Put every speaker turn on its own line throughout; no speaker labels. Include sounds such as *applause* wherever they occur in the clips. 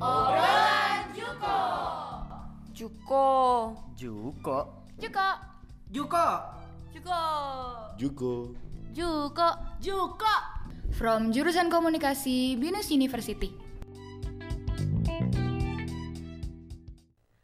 Obrolan Juko.
Juko.
Juko.
Juko.
Juko.
Juko.
Jugo.
Juko.
Juko.
From jurusan komunikasi Binus University.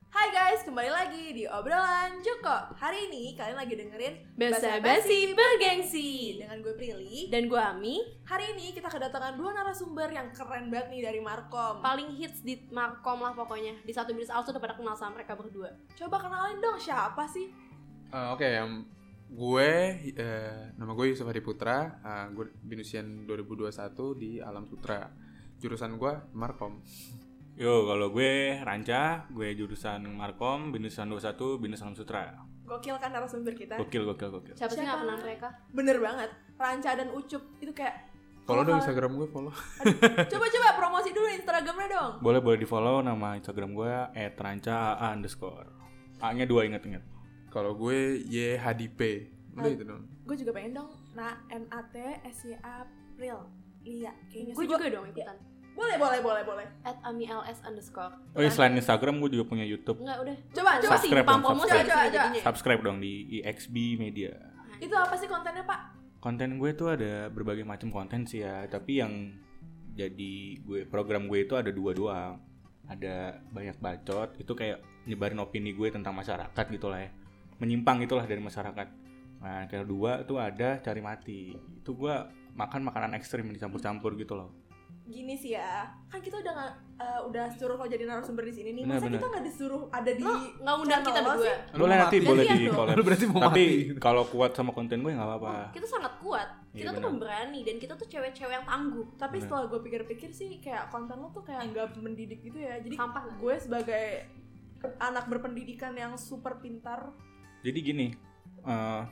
Hai guys, kembali lagi di Obrolan Juko. Hari ini kalian lagi dengerin
Basa
Basa-basi
basi bergengsi
dengan gue Prilly.
dan gua Ami
Hari ini kita kedatangan dua narasumber yang keren banget nih dari Markom.
paling hits di Markom lah pokoknya di satu bisnis auto udah pada kenal sama mereka berdua
Coba kenalin dong siapa sih?
Eh, Oke, yang gue eh, nama gue Yusuf Hadi Putra, eh, gue binusian 2021 di Alam Sutra. Jurusan gue Markom.
Yo, kalau gue Ranca, gue jurusan Markom, binusan 21, binus Alam Sutra.
Gokil kan narasumber kita?
Gokil, gokil, gokil.
siapa, sih
Siapa?
nggak kenal mereka
Bener banget. Ranca dan Ucup itu kayak
Follow
Kalau-
dong Instagram gue, follow.
Coba-coba promosi dulu Instagramnya dong.
Boleh boleh di follow nama Instagram gue @ranca_aa underscore. A-nya dua inget-inget.
Kalau gue Y Hadi P. Udah itu dong.
Gue juga pengen dong. Nah, N A T S Y A April. Iya, kayaknya
gue
sih
juga
gua- Iya.
dong ikutan
Boleh, boleh, boleh, boleh.
at amils underscore
Oh iya, selain Instagram gue juga punya YouTube.
Enggak udah
Coba, coba
sih
Subscribe
pam
dong,
pomo sih
subscribe.
Coba, coba,
jadinya
Subscribe dong di IXB Media.
Itu apa sih kontennya, Pak?
Konten gue tuh ada berbagai macam konten sih ya, tapi yang jadi gue program gue itu ada dua doang. Ada banyak bacot, itu kayak nyebarin opini gue tentang masyarakat gitu lah ya. Menyimpang itulah dari masyarakat. Nah, yang kedua tuh ada cari mati. Itu gue makan makanan ekstrim dicampur-campur gitu loh.
Gini sih ya, kan kita udah nggak eh, udah suruh lo jadi narasumber di sini nih.
Benar,
Masa
benar.
kita nggak disuruh ada di
nggak undang
channel
kita
lo
berdua
sih?
Boleh
mau
nanti
mati?
boleh
Gantian
di
dong.
*laughs*
collab.
Lu berarti mau
Tapi
mati.
kalau kuat sama konten gue nggak apa-apa.
kita sangat kuat kita tuh
Iya, benar.
pemberani dan kita tuh cewek-cewek yang tangguh
Tapi
Benar.
setelah gue pikir-pikir sih kayak konten lo tuh kayak nggak mendidik gitu ya. Jadi
sampah
Iya,
nggak?
gue sebagai anak berpendidikan yang super pintar
Jadi gini, eh,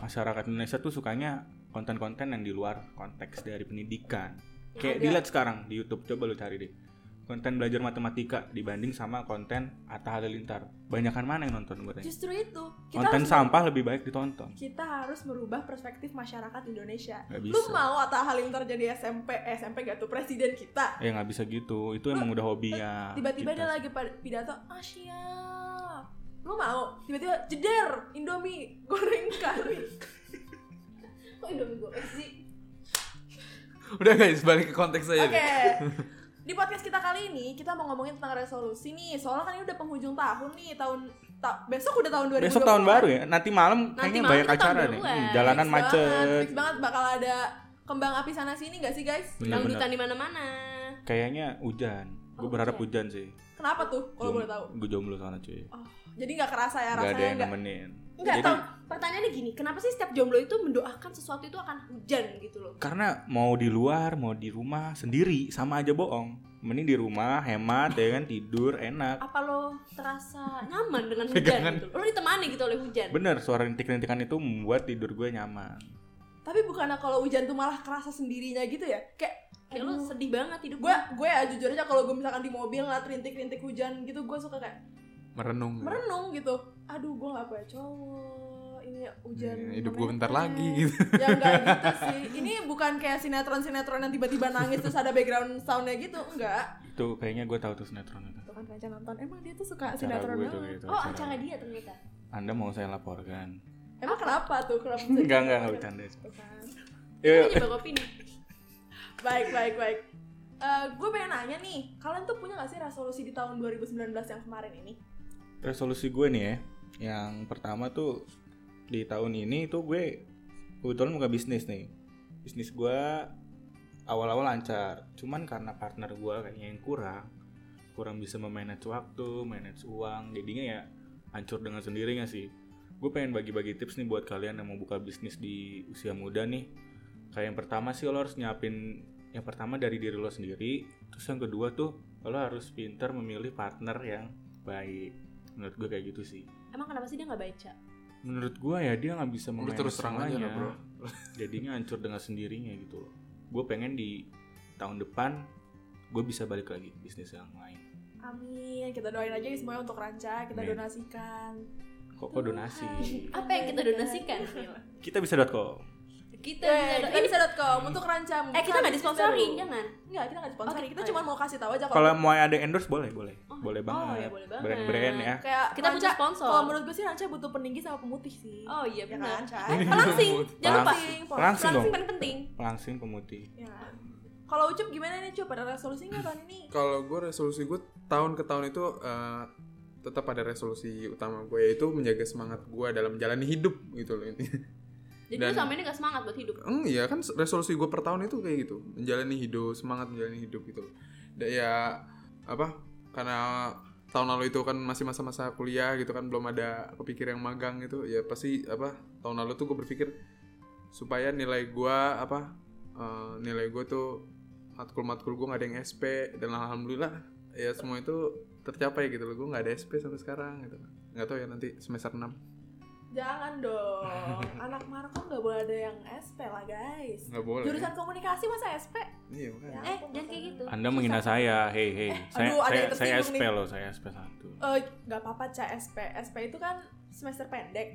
masyarakat Indonesia tuh sukanya konten-konten yang di luar konteks dari pendidikan.
Ya,
Kayak
ada.
dilihat sekarang di YouTube, coba lu cari deh. Konten belajar matematika dibanding sama konten Atta Halilintar. Banyakan mana yang nonton gue tanya?
justru itu kita
Konten
harus
sampah lebih baik ditonton.
kita harus merubah perspektif masyarakat Indonesia
Gak
lu
bisa.
mau Atta Halilintar jadi SMP eh, SMP gak tuh presiden kita
Ya nggak bisa gitu. Itu emang udah hobinya.
eh, tiba-tiba
Nah, kita.
dia lagi pad- pidato Asia lu mau tiba-tiba jeder Indomie goreng
*laughs*
kari
kok indomie gue sih
Udah guys, balik ke konteks
oke
Iya,
aja deh.
di podcast kita kali ini kita mau ngomongin tentang resolusi nih soalnya kan ini udah penghujung tahun nih tahun ta- besok udah tahun 2020
Besok tahun baru ya. Nanti malam
Nanti
kayaknya
malam
banyak
kita tahun
acara nih.
baruan.
Hmm, jalanan
Fix banget,
macet.
fix banget bakal ada kembang api sana sini gak sih guys
Bener-bener.
dangdutan di mana-mana
Kayaknya hujan. Gue
Oh,
berharap
hujan.
hujan sih.
kenapa tuh kalau Oh, boleh tahu
Gue jomblo soalnya cuy.
jadi nggak kerasa ya
Gak ada
rasanya
yang
nggak
nemenin.
Enggak
Jadi-
tahu. Pertanyaannya gini, kenapa sih setiap jomblo itu mendoakan sesuatu itu akan hujan gitu loh?
karena mau di luar mau di rumah sendiri sama aja bohong mending di rumah hemat ya kan tidur enak
Apa lo terasa nyaman dengan hujan
Pegangan.
gitu? Lo ditemani gitu oleh hujan.
bener suara rintik-rintikan itu membuat tidur gue nyaman
tapi bukannya kalau hujan tuh malah kerasa sendirinya gitu ya kayak
Kayak lo
aduh.
sedih banget hidup
gue gue ya jujur aja kalau gue misalkan di mobil ngeliat rintik-rintik hujan gitu gue suka kayak
Merenung.
merenung gitu aduh gue nggak punya cowok ini hujan
Hmm, hidup gue
namanya
bentar
hujan.
lagi gitu.
ya enggak gitu sih ini bukan kayak sinetron sinetron yang tiba-tiba nangis terus ada background soundnya gitu enggak
itu kayaknya gue tahu tuh sinetron itu
tuh kan Ranca nonton emang dia tuh suka
cara
sinetron
gue tuh
banget
gitu
Oh,
cara
acara
gue.
dia ternyata.
anda mau saya laporkan
emang kenapa tuh kenapa kan.
enggak enggak enggak bercanda
Bukan.
Ini
yuk yuk.
nyebab opini.
baik baik baik Eh, gue pengen nanya nih, kalian tuh punya gak sih resolusi di tahun 2019 yang kemarin ini?
resolusi gue nih ya yang pertama tuh di tahun ini tuh gue kebetulan buka bisnis nih bisnis gue awal-awal lancar cuman karena partner gue kayaknya yang kurang kurang bisa memanage waktu manage uang jadinya ya hancur dengan sendirinya sih gue pengen bagi-bagi tips nih buat kalian yang mau buka bisnis di usia muda nih kayak yang pertama sih lo harus nyiapin yang pertama dari diri lo sendiri terus yang kedua tuh lo harus pintar memilih partner yang baik menurut gue kayak gitu sih
Emang kenapa sih dia nggak baca?
menurut gue ya dia nggak bisa
Udah
memanage
terus terang aja
semuanya.
lah bro.
*laughs* jadinya hancur dengan sendirinya gitu loh gue pengen di tahun depan gue bisa balik lagi ke bisnis yang lain
Amin, kita doain aja ya semuanya untuk Ranca, kita
Amin.
donasikan
kok kok donasi
Apa yang kita donasikan?
kita bisa dot com
Oke,
Kita
Eh,
bisa
kita
ini
bisa.com untuk rancang
eh kita nggak disponsorin jangan.
Enggak, kita nggak disponsori.
Oke,
Kita
oh
cuma mau kasih tahu aja
Kalau
kalau
mau ada endorse boleh, boleh. boleh banget.
oh, ya, boleh banget.
Brand-brand ya.
kayak
Kita
Ranca-
punya sponsor.
Kalau menurut gue sih Ranca butuh peninggi sama pemutih sih.
Oh iya
ya
benar.
kan, Cai?
*laughs*
Pelangsing, jangan lupa.
Pelangsing.
Pelangsing,
Pelangsing dong.
paling penting.
Pelangsing pemutih.
Ya kan? Kalau Ucup gimana nih Cup? Ada resolusinya tahun ini?
*laughs* Kalau gue resolusi gue tahun ke tahun itu eh, tetap ada resolusi utama gue yaitu menjaga semangat gue dalam menjalani hidup gitu loh intinya.
Jadi
Dan-
lu sama ini gak semangat buat hidup.
Hmm, iya kan resolusi gue per tahun itu kayak gitu menjalani hidup semangat menjalani hidup gitu loh. Dan ya apa karena tahun lalu itu kan masih masa-masa kuliah gitu kan belum ada kepikir yang magang gitu ya pasti apa tahun lalu tuh gue berpikir supaya nilai gue apa eh, nilai gue tuh matkul-matkul gue nggak ada yang SP dan alhamdulillah ya semua itu tercapai gitu loh gue nggak ada SP sampai sekarang gitu nggak tahu ya nanti semester 6
Jangan
*laughs*
dong. Anak Markom nggak boleh ada yang SP lah guys.
nggak boleh
Jurusan komunikasi masa SP?
iya makanya.
Ya ampun,
Eh, jangan
masa
kayak
ini.
gitu.
Anda menghina saya. Hei, hei. saya
aduh, ada
saya,
yang
saya SP
tersinggung nih.
loh, saya SP satu.
Eh, nggak apa-apa Cai SP. SP itu kan semester pendek.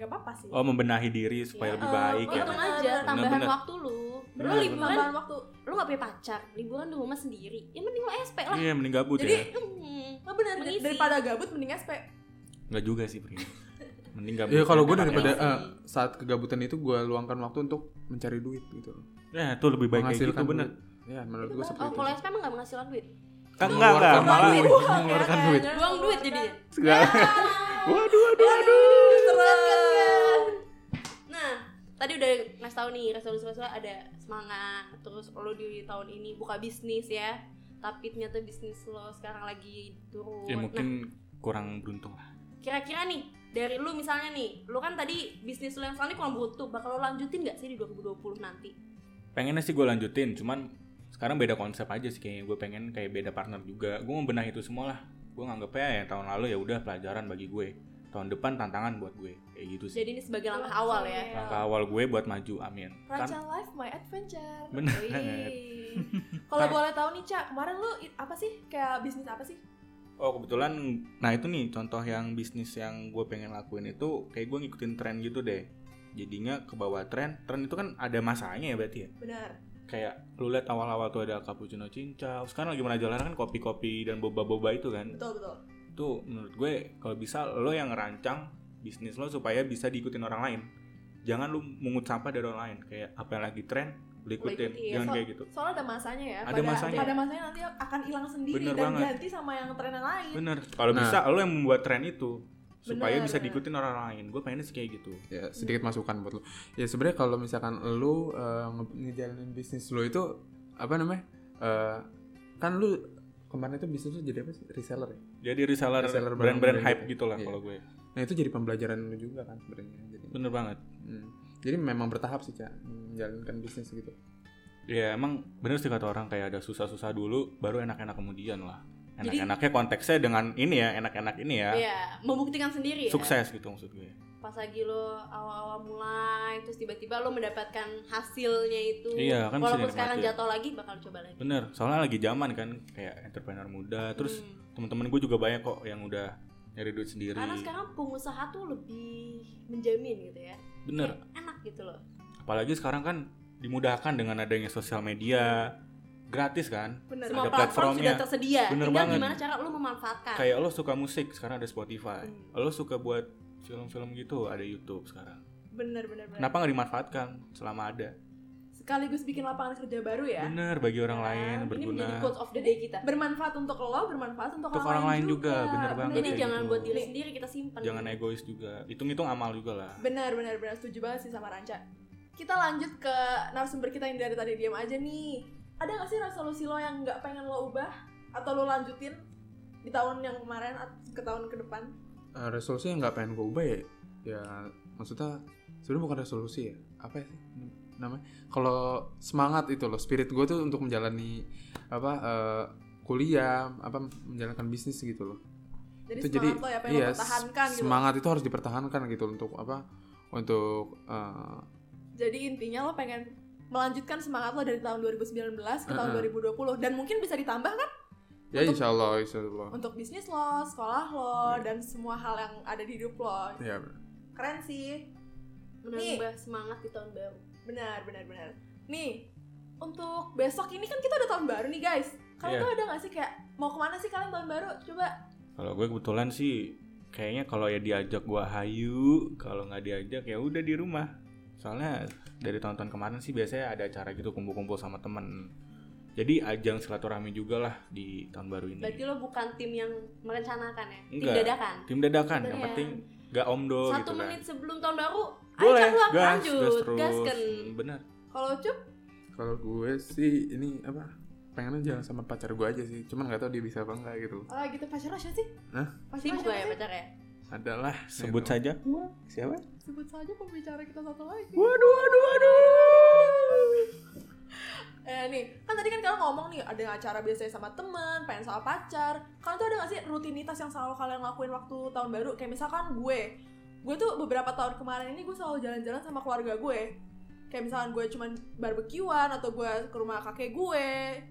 Nggak apa-apa sih.
Oh, membenahi diri
Ya,
supaya lebih
eh,
baik ya.
Untung aja tambahan
Bener-bener.
waktu lu. Lu
Bener-bener.
liburan,
Tambahan waktu.
lu gak punya pacar, liburan di rumah sendiri. Ya, Yang penting lu SP lah.
Iya, mending gabut
Jadi-
ya.
Hmm.
Oh benar,
Mengisi.
daripada gabut mending SP.
Enggak juga sih, Pri. Mending gabut.
Ya kalau gue
Enak
daripada
ya.
eh, saat kegabutan itu gue luangkan waktu untuk mencari duit gitu. loh.
Ya, itu lebih baik kayak gitu
Menghasilkan
bener.
duit. Ya menurut gue seperti
Oh,
itu.
kalau SP emang gak menghasilkan duit.
Kan enggak enggak,
Mengeluarkan
malah
duit,
*laughs*
mengeluarkan duit.
Buang duit jadi.
*laughs* Waduh, waduh, waduh.
ya. Nah, tadi udah ngasih tahu nih resolusi-resolusi ada semangat, terus lo di tahun ini buka bisnis ya. Tapi ternyata bisnis lo sekarang lagi turun.
ya mungkin
Nah,
kurang beruntung lah.
kira-kira nih dari lu misalnya nih, lu kan tadi bisnis lu yang sekarang ini kurang beruntung, bakal lo lanjutin nggak sih di 2020 nanti?
Pengennya sih gue lanjutin, cuman sekarang beda konsep aja sih kayaknya gue pengen kayak beda partner juga. Gue membenahi itu semua lah. Gue nganggepnya ya tahun lalu ya udah pelajaran bagi gue. Tahun depan tantangan buat gue. Kayak gitu sih.
Jadi ini sebagai langkah awal ya.
Langkah awal gue buat maju, amin.
Raja
Kan
Life My Adventure.
Bener.
Wih.
*laughs* Kan-
Kalau boleh tahu nih Cak, kemarin lu i- apa sih kayak bisnis apa sih?
oh kebetulan nah itu nih contoh yang bisnis yang gue pengen lakuin itu kayak gue ngikutin tren gitu deh. Jadinya ke bawah tren. Tren itu kan ada masanya ya berarti ya.
Benar.
Kayak lu lihat awal-awal tuh ada cappuccino cincau. Sekarang lagi merajalela kan kopi-kopi dan boba-boba itu kan.
Betul betul.
itu menurut gue kalau bisa lo yang ngerancang bisnis lo supaya bisa diikutin orang lain jangan lo mungut sampah dari orang lain kayak apa yang lagi tren lo ikutin
ikutin,
jangan
so-
kayak gitu
Soalnya ada masanya ya.
Ada masanya.
Pada masanya nanti akan hilang sendiri
Bener
dan
banget.
ganti sama yang tren yang lain.
bener kalau
Nah.
bisa lo yang membuat tren itu supaya
Bener,
bisa
bener.
diikutin orang lain gue pengennya sih kayak gitu
Ya sedikit masukan buat lu. Ya sebenarnya kalau misalkan lu eh, nge- ngejalanin bisnis lu itu apa namanya? Eh, kan lu kemarin itu bisnis lu jadi apa sih? Reseller ya?
jadi reseller,
Reseller barang-barang
brand-brand hype
gitu.
gitu lah
Iya.
kalau gue
Nah itu jadi pembelajaran lu juga kan sebenarnya. Jadi,
bener banget
hmm. jadi memang bertahap sih cak menjalankan bisnis gitu.
ya emang bener sih kata orang kayak ada susah-susah dulu baru enak-enak kemudian lah enak-enaknya konteksnya dengan ini ya enak-enak ini ya
Iya, membuktikan sendiri ya.
sukses gitu maksud gue
Pas lagi lo awal-awal mulai, terus tiba-tiba lo mendapatkan hasilnya itu.
Iya, kan bisa
Walaupun
dinikmati.
sekarang jatuh lagi, bakal coba lagi.
bener soalnya lagi zaman kan kayak entrepreneur muda terus
Hmm.
teman-teman gue juga banyak kok yang udah nyari duit sendiri
Karena sekarang pengusaha tuh lebih menjamin gitu ya.
bener
Enak gitu loh.
apalagi sekarang kan dimudahkan dengan adanya sosial media gratis kan
Benar.
Semua
Ada
platform
platformnya.
sudah tersedia.
Bener
Tinggal
banget.
gimana cara lo memanfaatkan.
kayak lo suka musik sekarang ada Spotify
Hmm.
lo suka buat film-film gitu ada YouTube sekarang
Bener bener bener.
kenapa nggak dimanfaatkan selama ada
Sekaligus bikin lapangan kerja baru ya.
bener bagi orang
Nah,
lain
Ini
berguna
menjadi quote of the day kita.
Bermanfaat untuk lo, bermanfaat untuk,
Untuk orang lain juga, bener banget.
Jadi
kayak
jangan
gitu.
buat diri sendiri kita simpan.
jangan egois juga hitung-hitung amal juga lah
Benar benar benar setuju banget sih sama Ranca. Kita lanjut ke narasumber kita yang dari tadi diam aja nih. Ada nggak sih resolusi lo yang nggak pengen lo ubah atau lo lanjutin di tahun yang kemarin at- ke tahun ke depan?
Eh, resolusi yang nggak pengen gue ubah ya ya maksudnya sebenarnya bukan resolusi ya apa sih namanya kalau semangat itu loh spirit gue tuh untuk menjalani apa eh, kuliah apa menjalankan bisnis gitu loh
Jadi
itu
semangat lo ya pengen
iya,
lo pertahankan
s-
gitu.
semangat itu harus dipertahankan gitu loh, untuk apa untuk eh,
Jadi intinya lo pengen melanjutkan semangat lo dari tahun 2019 ke tahun
Mm-mm.
2020 dan mungkin bisa ditambah kan
ya
Untuk-
insya Allah insya Allah
untuk bisnis lo, sekolah lo
Iya.
dan semua hal yang ada di hidup lo.
ya
Keren sih.
Hmm.
menambah semangat di tahun baru.
Benar, benar, benar. Nih, untuk besok ini kan kita udah tahun baru nih guys. Kalian
Iya.
tuh ada gak sih kayak mau kemana sih kalian tahun baru? Coba.
Kalau gue kebetulan sih kayaknya kalau ya diajak gue hayu, kalau nggak diajak ya udah di rumah. Soalnya dari tahun-tahun kemarin sih biasanya ada acara gitu kumpul-kumpul sama temen. Jadi ajang silaturahmi juga lah di tahun baru ini.
Berarti lo bukan tim yang merencanakan ya? Tim
Enggak.
dadakan.
Tim dadakan, yang
Iya.
penting nggak omdo
Satu
gitu kan.
menit sebelum tahun baru, ayo
Boleh,
keluar
gas,
lanjut,
gas terus.
gasken.
Bener.
Kalau Cup,
Kalau gue sih ini apa? Pengennya jalan sama pacar gue aja sih. Cuman nggak tahu dia bisa apa enggak gitu.
oh, gitu pacar lo siapa sih?
Hah?
Pacar lo
Sibuk gak ya
siapa sih?
pacar ya?
Adalah gitu.
Sebut saja. Siapa?
Sebut saja pembicara kita satu lagi.
Waduh, waduh, waduh.
Eh nih, kan tadi kan kalian ngomong nih ada acara biasanya sama temen, pengen sama pacar. Kalian tuh ada gak sih rutinitas yang selalu kalian lakuin waktu tahun baru? Kayak misalkan gue, gue tuh beberapa tahun kemarin ini gue selalu jalan-jalan sama keluarga gue. Kayak misalkan gue cuman barbekyuan atau gue ke rumah kakek gue,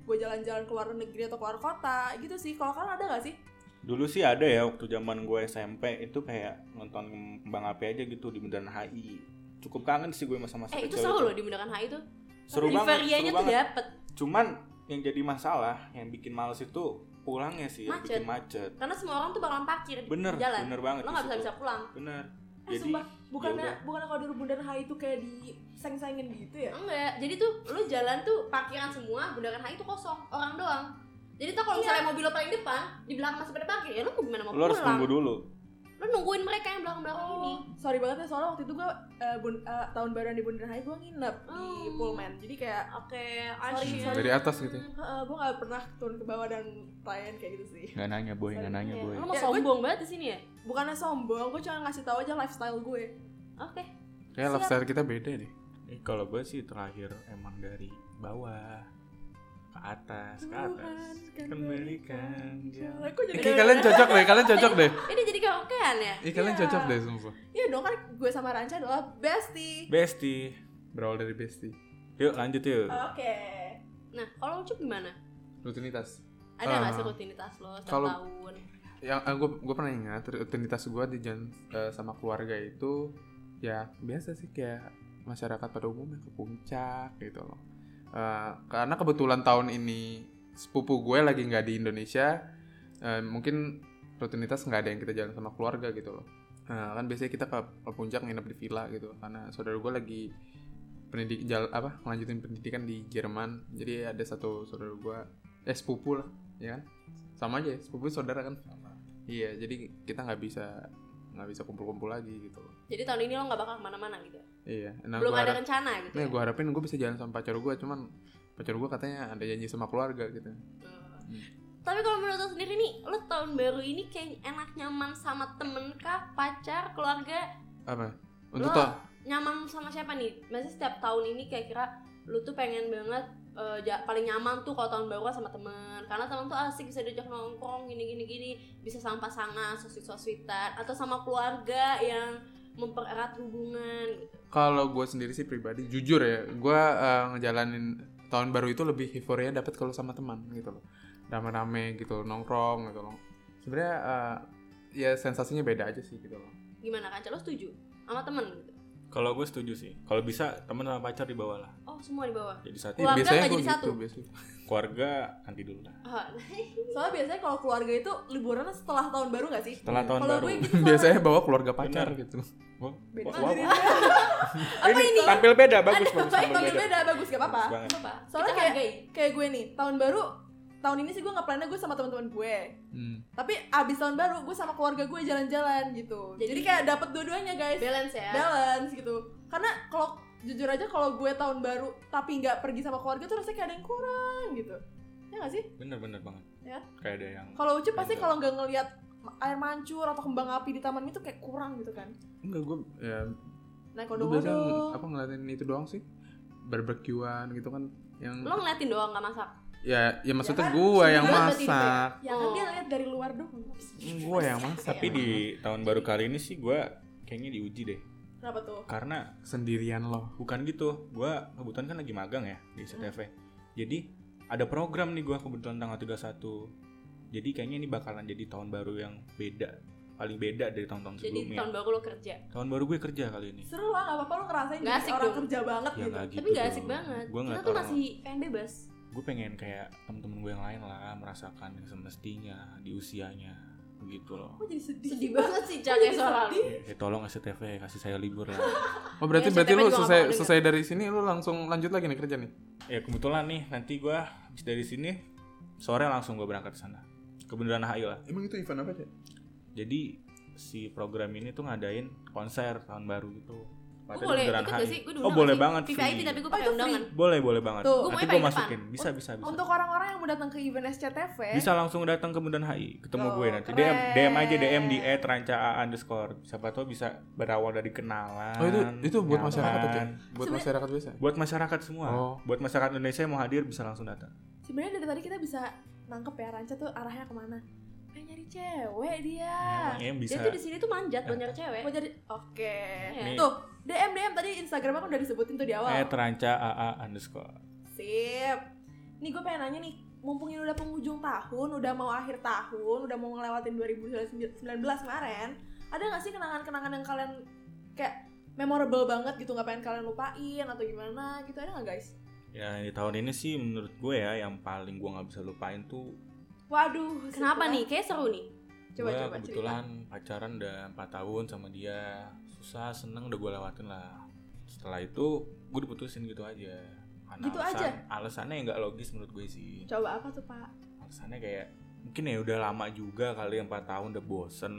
gue jalan-jalan keluar negeri atau keluar kota, gitu sih. Kalau kalian ada gak sih?
Dulu sih ada ya waktu zaman gue SMP itu kayak nonton Bang Api aja gitu di Bundaran HI. Cukup kangen sih gue masa-masa
Eh itu
kecil
seru loh di Mudahkan HI itu.
Seru banget,
Riverianya
seru
tuh ya.
banget.
dapet.
Cuman yang jadi masalah, yang bikin males itu pulangnya sih, yang
Macet.
bikin macet.
Karena semua orang tuh bakalan parkir di
Bener,
jalan.
bener banget.
Lo
di
gak bisa
situ.
bisa pulang.
Bener.
Eh,
Jadi
sumpah, bukannya
yaudah.
bukannya kalau di Bundaran HI itu kayak diseng-sengin gitu ya?
Enggak, jadi tuh lo jalan tuh parkiran semua, Bundaran HI tuh kosong, orang doang. Jadi tuh kalau misalnya mobil lo paling depan, di belakang masih pada parkir, ya lo mau gimana mau
lo harus
pulang?
tunggu dulu.
Lo nungguin mereka yang
Oh.
belakang-belakang ini.
sorry banget ya soalnya waktu itu gue eh, tahun baruan di Bundaran Hai gue nginep di
Hmm.
Pullman jadi kayak
Oke,
Sorry,
asyik.
sorry.
Dari atas gitu.
gue gak pernah turun ke bawah dan lain kayak gitu sih
Gak nanya boy, gak nanya boy.
Lo mau
Ya, gue-
sombong banget di sini ya?
bukannya sombong gue cuma ngasih tahu aja lifestyle gue
Oke.
Kayak lifestyle kita beda deh.
Eh, kalau gue sih terakhir emang dari bawah ke atas, ke atas.
Tuhan, kan
Kembalikan jalan.
aku jadi
Ini kalian cocok deh, kalian cocok deh.
Ini jadi karaokean ya?
Ih kalian
Iya.
cocok deh sumpah.
iya dong kan gue sama Ranca adalah bestie
Besti.
Berawal dari bestie.
Yuk lanjut yuk.
oke
Nah, kalau Ucup gimana?
Rutinitas.
Ada nggak
Ah.
sih rutinitas lo setiap
Kalau-
tahun?
yang gue pernah ingat rutinitas gue di jalan eh, sama keluarga itu ya biasa sih kayak masyarakat pada umumnya ke puncak gitu loh Eh, karena kebetulan tahun ini sepupu gue lagi nggak di Indonesia eh, mungkin rutinitas nggak ada yang kita jalan sama keluarga gitu loh Nah, kan biasanya kita ke, ke puncak nginep di villa gitu karena saudara gue lagi pendidik jal- apa lanjutin pendidikan di Jerman jadi ada satu saudara gue eh sepupu lah ya kan sama aja ya, sepupu saudara kan Iya, jadi kita nggak bisa nggak bisa kumpul-kumpul lagi gitu. loh.
Jadi tahun ini lo nggak bakal kemana-mana gitu?
Iya, nah
Belum
gua
ada
harap-
rencana gitu?
Nih,
ya?
gue harapin gue bisa jalan sama pacar gue, cuman pacar gue katanya ada janji sama keluarga gitu.
Hmm. Tapi kalau menurut lo sendiri nih, lo tahun baru ini kayak enak nyaman sama temen kah, pacar, keluarga?
Apa? Untuk
Lo-
toh
Nyaman sama siapa nih? Maksudnya setiap tahun ini kayak kira lo tuh pengen banget eh, ja- paling nyaman tuh kalau tahun baru sama temen karena temen tuh asik bisa diajak nongkrong gini gini gini bisa sama pasangan sosit sositan atau sama keluarga yang mempererat hubungan gitu.
kalau gue sendiri sih pribadi jujur ya, gue ngejalanin tahun baru itu lebih euforia dapat kalau sama teman gitu loh. Rame-rame gitu, nongkrong gitu loh. Sebenarnya eh, ya sensasinya beda aja sih gitu loh.
gimana kan lo setuju sama temen gitu
Kalau gue setuju sih. Kalau bisa temen sama pacar dibawa lah.
oh semua di bawah *laughs*
Jadi saat
Keluarga nggak
gua gitu,
jadi satu?
Iya, biasanya. *laughs*
keluarga nanti dulu lah.
oh,
soalnya biasanya kalau keluarga itu liburan setelah tahun baru gak sih
Setelah tahun
kalau
baru.
gue gitu soalnya-
biasanya bawa keluarga pacar
Bener.
gitu.
Wah,
beda
wah, wah.
Nah, apa ini
Tampil beda bagus
ada
bagus.
baik
tampil
tampil beda bagus gak apa-apa
Bagus banget.
apa
Soalnya
kita hargai
kayak gue nih tahun baru tahun ini sih gue nggak plannya gue sama teman-teman gue
Hmm.
tapi abis tahun baru gue sama keluarga gue jalan-jalan gitu jadi,
Jadi-
kayak dapet dua-duanya guys
balance ya
balance gitu karena kalau jujur aja kalau gue tahun baru tapi nggak pergi sama keluarga tuh rasanya kayak ada yang kurang gitu ya nggak sih
Bener bener banget.
Ya.
Kayak ada yang
kalau ucup pasti
Bener.
kalau nggak ngelihat air mancur atau kembang api di taman itu kayak kurang gitu kan
Enggak gue ya
naik
Gue biasanya
odong-odong
apa ngeliatin itu doang sih barbekyuan gitu kan yang
lo ngeliatin doang nggak masak
ya ya maksudnya
kan,
gue yang
sendirian berarti gitu ya.
masak
ya kan dia
Oh.
lihat dari luar doang
gue yang masak
Tapi di tahun baru kali ini sih gue kayaknya diuji deh.
kenapa tuh
Karena
sendirian loh
Bukan gitu, gua kebetulan kan lagi magang ya di
Hmm.
CTV. Jadi ada program nih gua kebetulan tanggal 31. Jadi kayaknya ini bakalan jadi tahun baru yang beda paling beda dari tahun-tahun
Jadi
sebelumnya.
tahun baru lo kerja.
Tahun baru gue kerja kali ini.
Seru lah, gak apa-apa lu ngerasain
Nggak
jadi
asik
orang
dong.
kerja banget
Ya
gitu.
nggak gitu.
Tapi gak asik
dong.
banget.
Gue nggak
Kita tuh
orang-
masih pengen bebas.
Gue pengen kayak temen-temen gue yang lain lah merasakan yang semestinya di usianya begitu loh.
Aku jadi sedih.
Sedih banget sih
Kok
Cak
jadi
ya soal
sedih?
Eh tolong SCTV kasih saya libur
*laughs*
lah.
Oh berarti
Ya,
berarti
SCTV
lu
juga
selesai
nggak bakal
selesai dari sini lu langsung lanjut lagi nih kerja nih.
ya kebetulan nih nanti gue habis dari sini sore langsung gue berangkat ke sana. Ke Bundaran HI lah.
Emang itu event apa aja?
Jadi si program ini tuh ngadain konser tahun baru gitu.
Gue
Padahal
boleh
Bundaran
ikut gak
HI.
sih? Gue
oh boleh banget.
VIP
free.
tapi
Oh,
gue
itu
pakai
free.
undangan.
Boleh boleh banget.
Tuh,
gua
Nanti
maunya
gue
paling
masukin.
depan.
Bisa bisa bisa.
Untuk orang-orang yang mau datang ke event SCTV,
Bisa langsung datang ke Bundaran HI, ketemu
Tuh,
gue nanti.
keren.
DM DM aja DM di @rancaa underscore. Siapa tahu bisa berawal dari kenalan.
Oh itu itu buat masyarakat aja.
nyaman.
Buat
Sebenarnya-
masyarakat biasa.
Buat masyarakat semua.
Oh.
Buat masyarakat Indonesia yang mau hadir bisa langsung datang.
sebenarnya dari tadi kita bisa nangkep ya Ranca tuh arahnya kemana. Pengen nyari cewek dia.
Emang yang
Dia
bisa. Eh.
tuh Ah, di sini tuh manjat banyak cewek.
Mau jadi oke.
Nih. Eh,
Tuh, DM DM tadi Instagram aku udah disebutin tuh di awal.
@rancaa underscore.
Sip. Nih gue pengen nanya nih, mumpung ini udah penghujung tahun, udah mau akhir tahun, udah mau ngelewatin 2019 kemarin, ada gak sih kenangan-kenangan yang kalian kayak memorable banget gitu, gak pengen kalian lupain atau gimana gitu, ada gak guys?
Ya di tahun ini sih menurut gue ya yang paling gue nggak bisa lupain tuh
Waduh,
Kenapa
setelah-
nih? Kayak seru nih.
Coba,
gue
coba,
kebetulan pacaran udah 4 tahun sama dia susah seneng udah gue lewatin lah setelah itu gue diputusin gitu aja Karena
Gitu aja?
alasannya yang nggak logis menurut gue sih
Coba apa tuh pak?
alasannya kayak mungkin ya udah lama juga kali 4 tahun udah bosen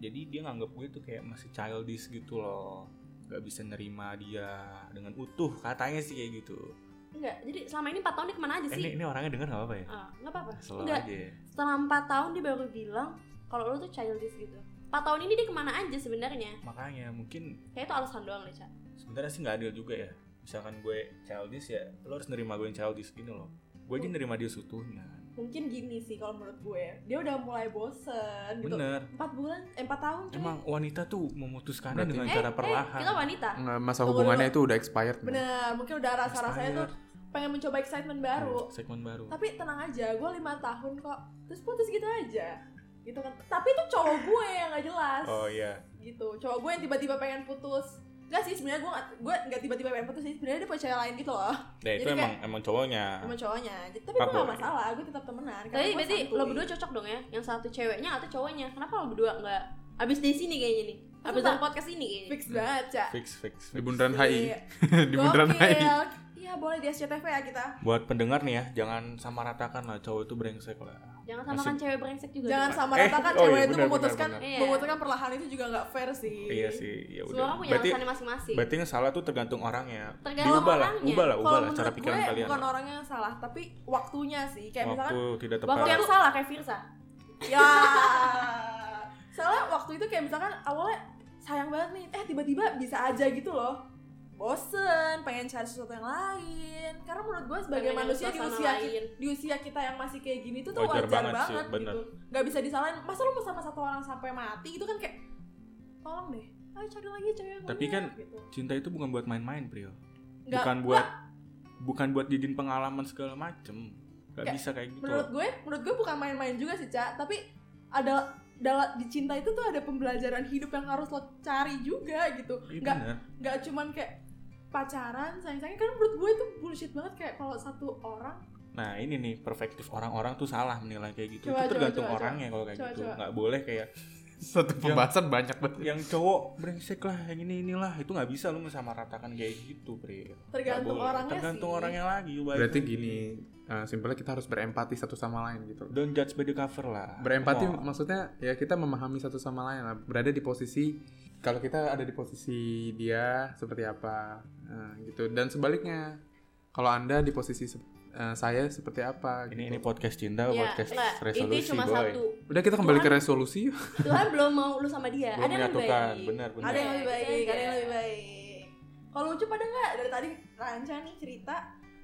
jadi dia nganggap gue tuh kayak masih childish gitu loh nggak bisa nerima dia dengan utuh katanya sih kayak gitu
Enggak. Jadi selama ini 4 tahun dia kemana aja
Eh,
sih?
ini, ini orangnya denger nggak apa-apa ya
Ah, nggak apa-apa.
Selalu
Enggak.
aja ya.
Setelah 4 tahun dia baru bilang kalau lo tuh childish gitu. 4 tahun ini dia kemana aja sebenarnya?
makanya mungkin
Kayak itu alasan doang deh, Cak.
sebenarnya sih nggak adil juga ya misalkan gue childish ya lo harus nerima gue yang childish gini loh gue aja nerima dia seutuhnya
Mungkin gini sih kalau menurut gue, dia udah mulai bosen gitu.
bener
Empat bulan, eh, empat tahun cuy.
emang ah. wanita tuh memutuskannya
Berarti-
dengan
Eh,
cara
eh, kita
perlahan
wanita.
Nggak, masa
Tunggu
hubungannya itu udah expired. men.
Bener, Eh, mungkin udah rasa-rasanya tuh pengen mencoba excitement baru.
Hmm, segmen baru
tapi tenang aja gue lima tahun kok terus putus gitu aja gitu kan tapi itu cowok gue yang gak jelas
oh iya
gitu cowok gue yang tiba-tiba pengen putus Enggak sih sebenarnya gue nggak- gue nggak tiba-tiba pengen putus sih sebenarnya dia punya cewek lain gitu loh
nah itu
Jadi
emang emang cowoknya
sama cowoknya Jadi- tapi gue gak
Fuckboy.
masalah gue tetap temenan karena
Tapi
gue
berarti
santuy.
lo berdua cocok dong ya? Yang satu ceweknya atau cowoknya? Kenapa lo berdua nggak abis dari sini kayaknya nih? Abis
Sumpah.
dari podcast ini kayaknya.
fix banget cak
fix fix, fix.
Di bundaran HI.
Iya.
*laughs* Di bundaran
Gokil.
HI.
iya boleh di SCTV ya kita
buat pendengar nih ya jangan sama ratakan lah cowok itu brengsek lah
Jangan samakan
Masih-
cewek brengsek juga.
jangan
dong.
sama
Eh,
ratakan
oh iya,
cewek itu
benar, benar,
memutuskan
benar.
Iya.
memutuskan perlahan itu juga nggak fair sih
iya sih ya
Semua orang
udah
punya
berarti
alasannya masing-masing.
berarti yang salah tuh tergantung orangnya
Tergantung
diubah lah
orangnya.
ubah lah ubah
kalau
lah
menurut
cara pikiran
gue
kalian
bukan orangnya yang salah tapi waktunya sih kayak misalkan
waktu tidak tepat
Waktu yang salah kayak Firsa.
Ya. Soalnya waktu itu kayak misalkan awalnya sayang banget nih, eh tiba-tiba bisa aja gitu loh. Bosen, pengen cari sesuatu yang lain. Karena menurut gue sebagai
Pengen
manusia di
suasana
usia
lain.
Iya,
ki- di usia kita yang masih kayak gini tuh tuh wajar,
Wajar
banget,
banget sih, bener.
gitu. Gak bisa disalahin. Masa lu mau sama satu orang sampai mati gitu kan kayak tolong deh. Ayo cari lagi cari yang
Tapi
lain,"
kan-
gitu.
cinta itu bukan buat main-main Priyo
Nggak-
bukan buat bukan buat jadiin pengalaman segala macem nggak
Nggak.
bisa kayak gitu
menurut gue menurut gue bukan main-main juga sih cak tapi ada dalam dicinta itu tuh ada pembelajaran hidup yang harus lo cari juga gitu
Iya
nggak
bener.
nggak cuman kayak pacaran sayang-sayang kan menurut gue itu bullshit banget kayak kalau satu orang
nah ini nih perspektif orang-orang tuh salah menilai kayak gitu
Coba,
itu
coba,
tergantung
coba,
orangnya kalau kayak
Coba,
gitu
coba.
nggak boleh kayak
*laughs* Satu pembahasan banyak banget.
yang cowok brengsek lah yang ini inilah itu nggak bisa lu mensamaratakan kayak gitu Pri Nggak
Tergantung
boleh.
orangnya
tergantung
sih.
orangnya lagi balik
Berarti
lagi.
gini, eh, simpelnya kita harus berempati satu sama lain gitu.
don't judge by the cover lah
Berempati
Come on.
maksudnya ya kita memahami satu sama lain lah. Berada di posisi kalau kita ada di posisi dia seperti apa nah, gitu dan sebaliknya kalau anda di posisi se- eh, saya seperti apa
ini
gitu.
ini podcast cinta
Ya,
Iya,
podcast
enggak. Itu
resolusi
cuma
boy
satu.
udah kita kembali ke
Tuhan-
resolusi
Tuhan belum mau lu sama dia. ada
Belum
yang lebih
menyatukan,
baik.
benar, benar.
ada yang lebih
Iya,
baik
iya.
ada yang lebih baik kalau Ucup ada nggak dari tadi Ranca nih cerita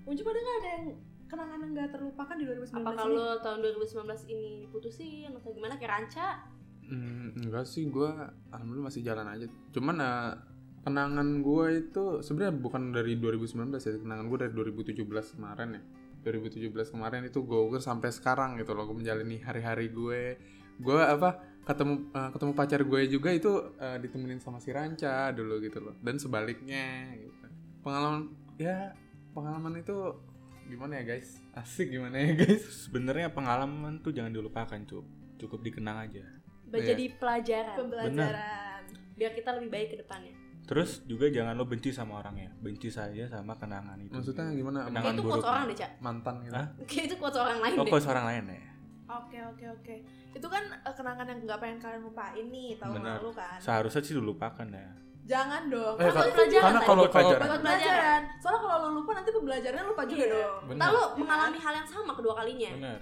Ucup ada nggak ada yang kenangan yang nggak terlupakan di 2019
Apa
ini
kalau tahun 2019 ini diputusin atau gimana kayak ranca?
Iya.
Hmm, enggak sih gue alhamdulillah masih jalan aja cuman eh, kenangan gue itu sebenarnya bukan dari 2019 ya kenangan gue dari 2017 kemarin ya 2017 kemarin itu gue sampai sekarang gitu loh gue menjalani hari-hari gue gue apa ketemu eh, ketemu pacar gue juga itu eh, ditemenin sama si Ranca dulu gitu loh dan sebaliknya gitu. pengalaman *laughs* ya pengalaman itu gimana ya guys asik gimana ya guys
Sebenarnya pengalaman tuh jangan dilupakan, Cuk. Cukup dikenang aja.
Biar
Iya.
jadi pelajaran
Pembelajaran.
biar kita lebih baik ke depannya.
Terus juga jangan lo benci sama orangnya. Benci saja sama kenangan itu.
maksudnya gimana
Kenangan
Kayak itu quotes
buruknya.
orang deh, Cak. *laughs*
mantan gitu
Hah?
Kayak itu quotes orang lain
Oh,
deh.
kok orang lain ya?
Oke oke oke. Itu kan eh, kenangan yang nggak pengen kalian lupain nih tahun
Benar.
lalu kan.
Seharusnya sih dilupakan ya.
Jangan dong.
Eh,
Kan
kalau-
lu pelajaran. kan
karena
tadi.
kalau
Buat
kalau
pelajaran.
Buat pelajaran. Soalnya kalau lu lupa nanti pembelajarannya lupa juga
Iya.
dong.
Benar.
Entah lu mengalami hal yang sama kedua kalinya.
Benar.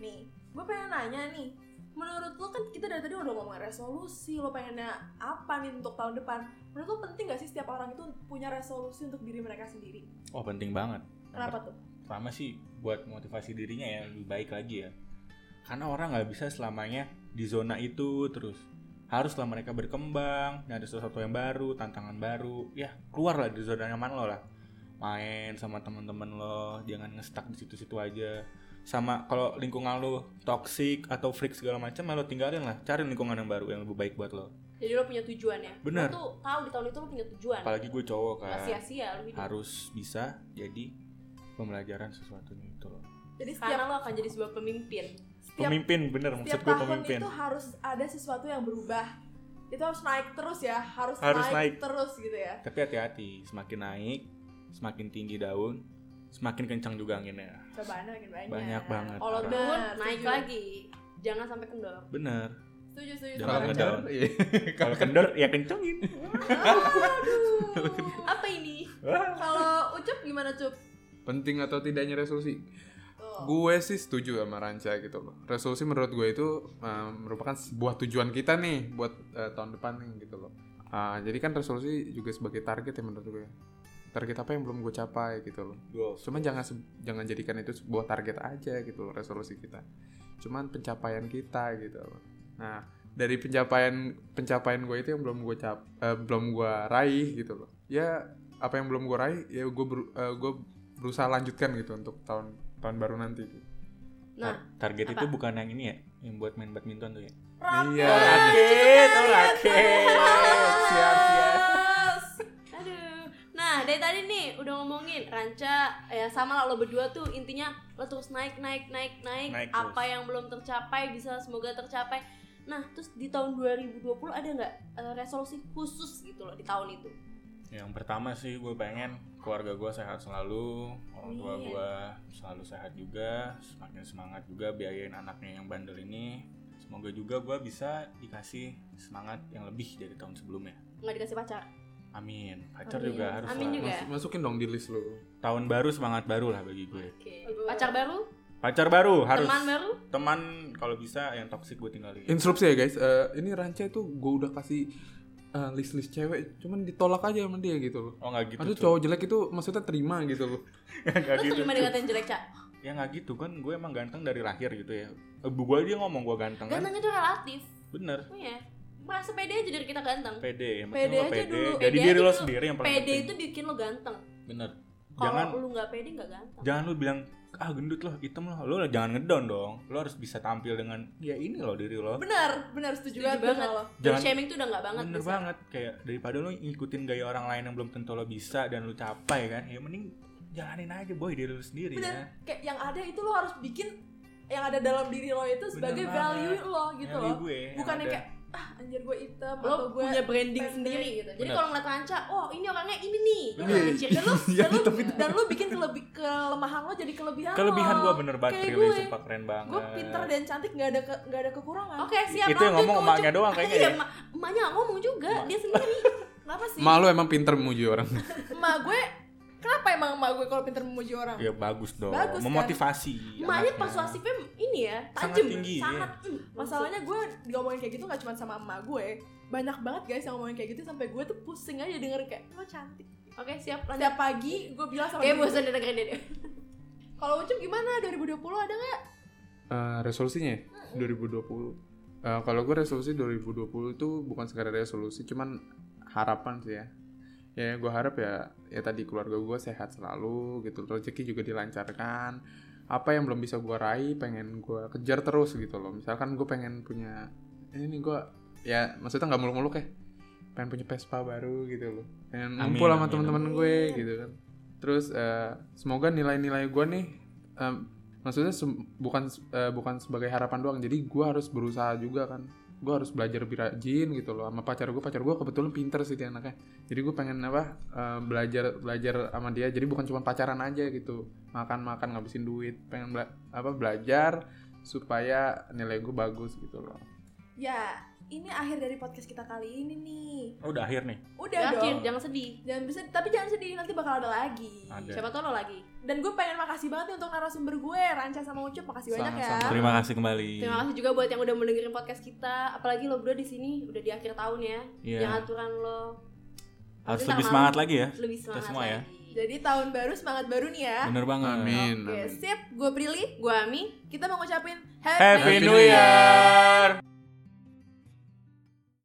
Nih, gue pengen nanya nih. Menurut lo kan kita dari tadi udah ngomongin resolusi, lo pengennya apa nih untuk tahun depan? Menurut lo penting gak sih setiap orang itu punya resolusi untuk diri mereka sendiri?
Oh, penting banget. Yang
Kenapa tuh?
pertama sih buat motivasi dirinya ya lebih baik lagi ya karena orang nggak bisa selamanya di zona itu terus haruslah mereka berkembang nyari sesuatu yang baru tantangan baru ya keluarlah dari zona nyaman lo lah main sama teman-teman lo jangan ngestak di situ-situ aja sama kalau lingkungan lo toxic atau freak segala macam ya lo tinggalin lah cari lingkungan yang baru yang lebih baik buat lo
Jadi lo punya tujuan ya.
Benar.
Lo tuh tahu di tahun itu lo punya tujuan.
apalagi gue cowok
Nggak
kan
sia-sia lo hidup.
harus bisa jadi pembelajaran sesuatu itu loh
Jadi setiap,
Karena lo akan jadi sebuah pemimpin.
setiap,
pemimpin bener
setiap
maksud gue
tahun
pemimpin
itu harus ada sesuatu yang berubah. Itu harus naik terus ya, harus,
Harus
naik,
naik.
terus gitu ya.
Tapi hati-hati, semakin naik, semakin tinggi daun, semakin kencang juga anginnya.
Cobaannya makin banyak.
Banyak banget.
Kalau
Parah.
turun
Nah,
naik
setuju.
lagi. Jangan sampai kendor.
Bener.
Setuju, setuju.
Jangan
setuju.
ngedown.
Iya.
Kalau kendor ya kencengin. *laughs*
Aduh.
Apa ini?
Kalau Ucup gimana Cup?
*laughs* penting atau tidaknya resolusi
Tuh.
gue sih setuju sama Ranca gitu loh resolusi menurut gue itu uh, merupakan sebuah tujuan kita nih buat uh, tahun depan nih gitu loh Ah, jadi kan resolusi juga sebagai target ya menurut gue target apa yang belum gue capai gitu loh
Goals.
cuman jangan se- jangan jadikan itu sebuah target aja gitu loh resolusi kita cuman pencapaian kita gitu loh nah dari pencapaian pencapaian gue itu yang belum gue cap eh, belum gue raih gitu loh ya apa yang belum gue raih ya gue ber- eh, gue berusaha lanjutkan gitu untuk tahun tahun baru nanti gitu.
Nah,
Target
Apa?
itu bukan yang ini ya, yang buat main badminton tuh ya.
iya
Raket, oh raket. Siap, siap.
Yes. Aduh. Nah, dari tadi nih udah ngomongin Ranca ya sama lah lo berdua tuh intinya lo terus naik naik naik naik,
Naik
apa
terus.
yang belum tercapai bisa semoga tercapai. Nah, terus di tahun 2020 ada nggak eh, resolusi khusus gitu loh di tahun itu?
Yang pertama sih gue pengen keluarga gue sehat selalu, orang tua
Amin.
gue selalu sehat juga, semakin semangat juga biayain anaknya yang bandel ini. Semoga juga gue bisa dikasih semangat yang lebih dari tahun sebelumnya.
Nggak dikasih pacar.
Amin. Pacar
Amin.
juga harus
Amin
lah.
juga.
Mas- masukin dong di list lo
tahun baru semangat baru lah bagi gue
Oke.
Aduh.
Pacar baru?
pacar baru harus
Teman baru?
Teman, kalau bisa yang toksik gue tinggalin
instruksi ya guys Eh, ini Ranca itu gue udah kasih list list cewek cuman ditolak aja sama dia gitu loh
oh nggak gitu
Aduh
Cuk.
cowok jelek itu maksudnya terima gitu loh
*laughs* nggak
Lo
gitu
terima
Cuk.
dikatain jelek, Cak?
ya nggak gitu kan gue emang ganteng dari lahir gitu ya ibu gue dia ngomong gue ganteng kan
Ganteng itu relatif.
bener
Oh ya. Merasa pede aja dari kita ganteng.
pede yang
Pede
penting lo
aja
pede
dulu,
jadi
pede
diri
aja
lo
dulu.
sendiri yang paling
Pede
penting
itu bikin lo ganteng.
bener jangan
Kalau lo nggak pede nggak ganteng.
jangan lo bilang ah gendut lo hitam lo lo jangan ngedown dong lo harus bisa tampil dengan ya ini lo diri lo
Benar, benar setuju
Setuju
banget.
banget.
sama lo.
Body
gitu Jangan-
shaming tuh udah nggak banget.
bener
bisa.
banget kayak daripada lo ngikutin gaya orang lain yang belum tentu lo bisa dan lo capai kan ya mending jalanin aja boy diri lo sendiri
Bener.
ya
Kayak yang ada itu lo harus bikin yang ada dalam diri lo itu sebagai
Bener
value
banget.
lo gitu
Nyali
loh.
gue ya. yang
Bukan yang
ada.
kayak ah anjir gue item
lo
atau gue
punya branding
pendek.
sendiri gitu. Jadi
Bener.
kalau ngeliat Ranca, oh ini orangnya ini nih. Lo
Iya.
ngecil. Dan
*laughs*
lo
dan lo, dan lo bikin kelebi- kelemahan lo jadi kelebihan.
kelebihan
lo.
gue bener banget
"Oh, Kayak
Prilly
gue.
sumpah keren banget
Gue pinter dan cantik gak ada ke, gak ada kekurangan.
Oke, siap.
Itu yang
lanjut
ngomong
ke
emaknya
ujung.
doang kayaknya
Iya,
ya.
emak- emaknya nggak ngomong juga, dia sendiri.
Kenapa sih?
malu emang pinter muji orang
Emak gue kenapa emang emak gue kalau pinter memuji orang?
ya bagus dong
Bagus, kan?
memotivasi
Emaknya
anaknya.
persuasifnya ini ya,
Sangat
tajam,
tinggi, iya.
sangat. mm,
Masalahnya gue diomongin kayak gitu gak cuma sama emak gue banyak banget guys yang ngomongin kayak gitu sampai gue tuh pusing aja denger kayak lo cantik
Oke, siap. Lanjut.
setiap pagi gue bilang sama
Kayak
diri
bosan dengerin
Iya
dia.
Kalau Ucup gimana? 2020 ada nggak?
Eh, resolusinya ya? 2020 Eh, kalau gue resolusi 2020 itu bukan sekadar resolusi cuman harapan sih ya ya gue harap ya ya tadi keluarga gue sehat selalu gitu rezeki juga dilancarkan apa yang belum bisa gue raih pengen gue kejar terus gitu loh misalkan gue pengen punya ini gue ya maksudnya nggak muluk-muluk ya pengen punya Vespa baru gitu loh pengen
Amin,
ngumpul sama
amin,
teman-teman gue gitu kan terus eh, semoga nilai-nilai gue nih em, maksudnya sem- bukan eh, bukan sebagai harapan doang jadi gue harus berusaha juga kan gue harus belajar lebih rajin gitu loh sama pacar gue pacar gue kebetulan pinter sih dia anaknya jadi gue pengen apa eh, belajar belajar sama dia jadi bukan cuma pacaran aja gitu makan makan ngabisin duit pengen bela- apa belajar supaya nilai gue bagus gitu loh
Ya, ini akhir dari podcast kita kali ini nih.
Oh, udah akhir nih.
Udah
Jangan
dong.
kir, jangan sedih.
Jangan bersedih, tapi jangan sedih, nanti bakal ada lagi.
Ada.
Siapa tau lo lagi.
Iya.
Dan gue pengen makasih banget nih untuk narasumber gue, Ranca sama Ucup, makasih banyak ya.
Sama-sama.
Terima kasih kembali.
Terima kasih juga buat yang udah mendengarin podcast kita. Apalagi lo berdua di sini udah di akhir tahun ya.
Iya.
Yang aturan lo
Harus
Nanti
lebih
tak
semangat
malu.
lagi ya.
lebih semangat
semua ya.
lagi.
Jadi tahun baru semangat baru nih ya.
Bener banget.
amin,
Oke,
amin.
sip. Gue Prilly,
Gua Ami,
kita mau ngucapin
Happy New Year.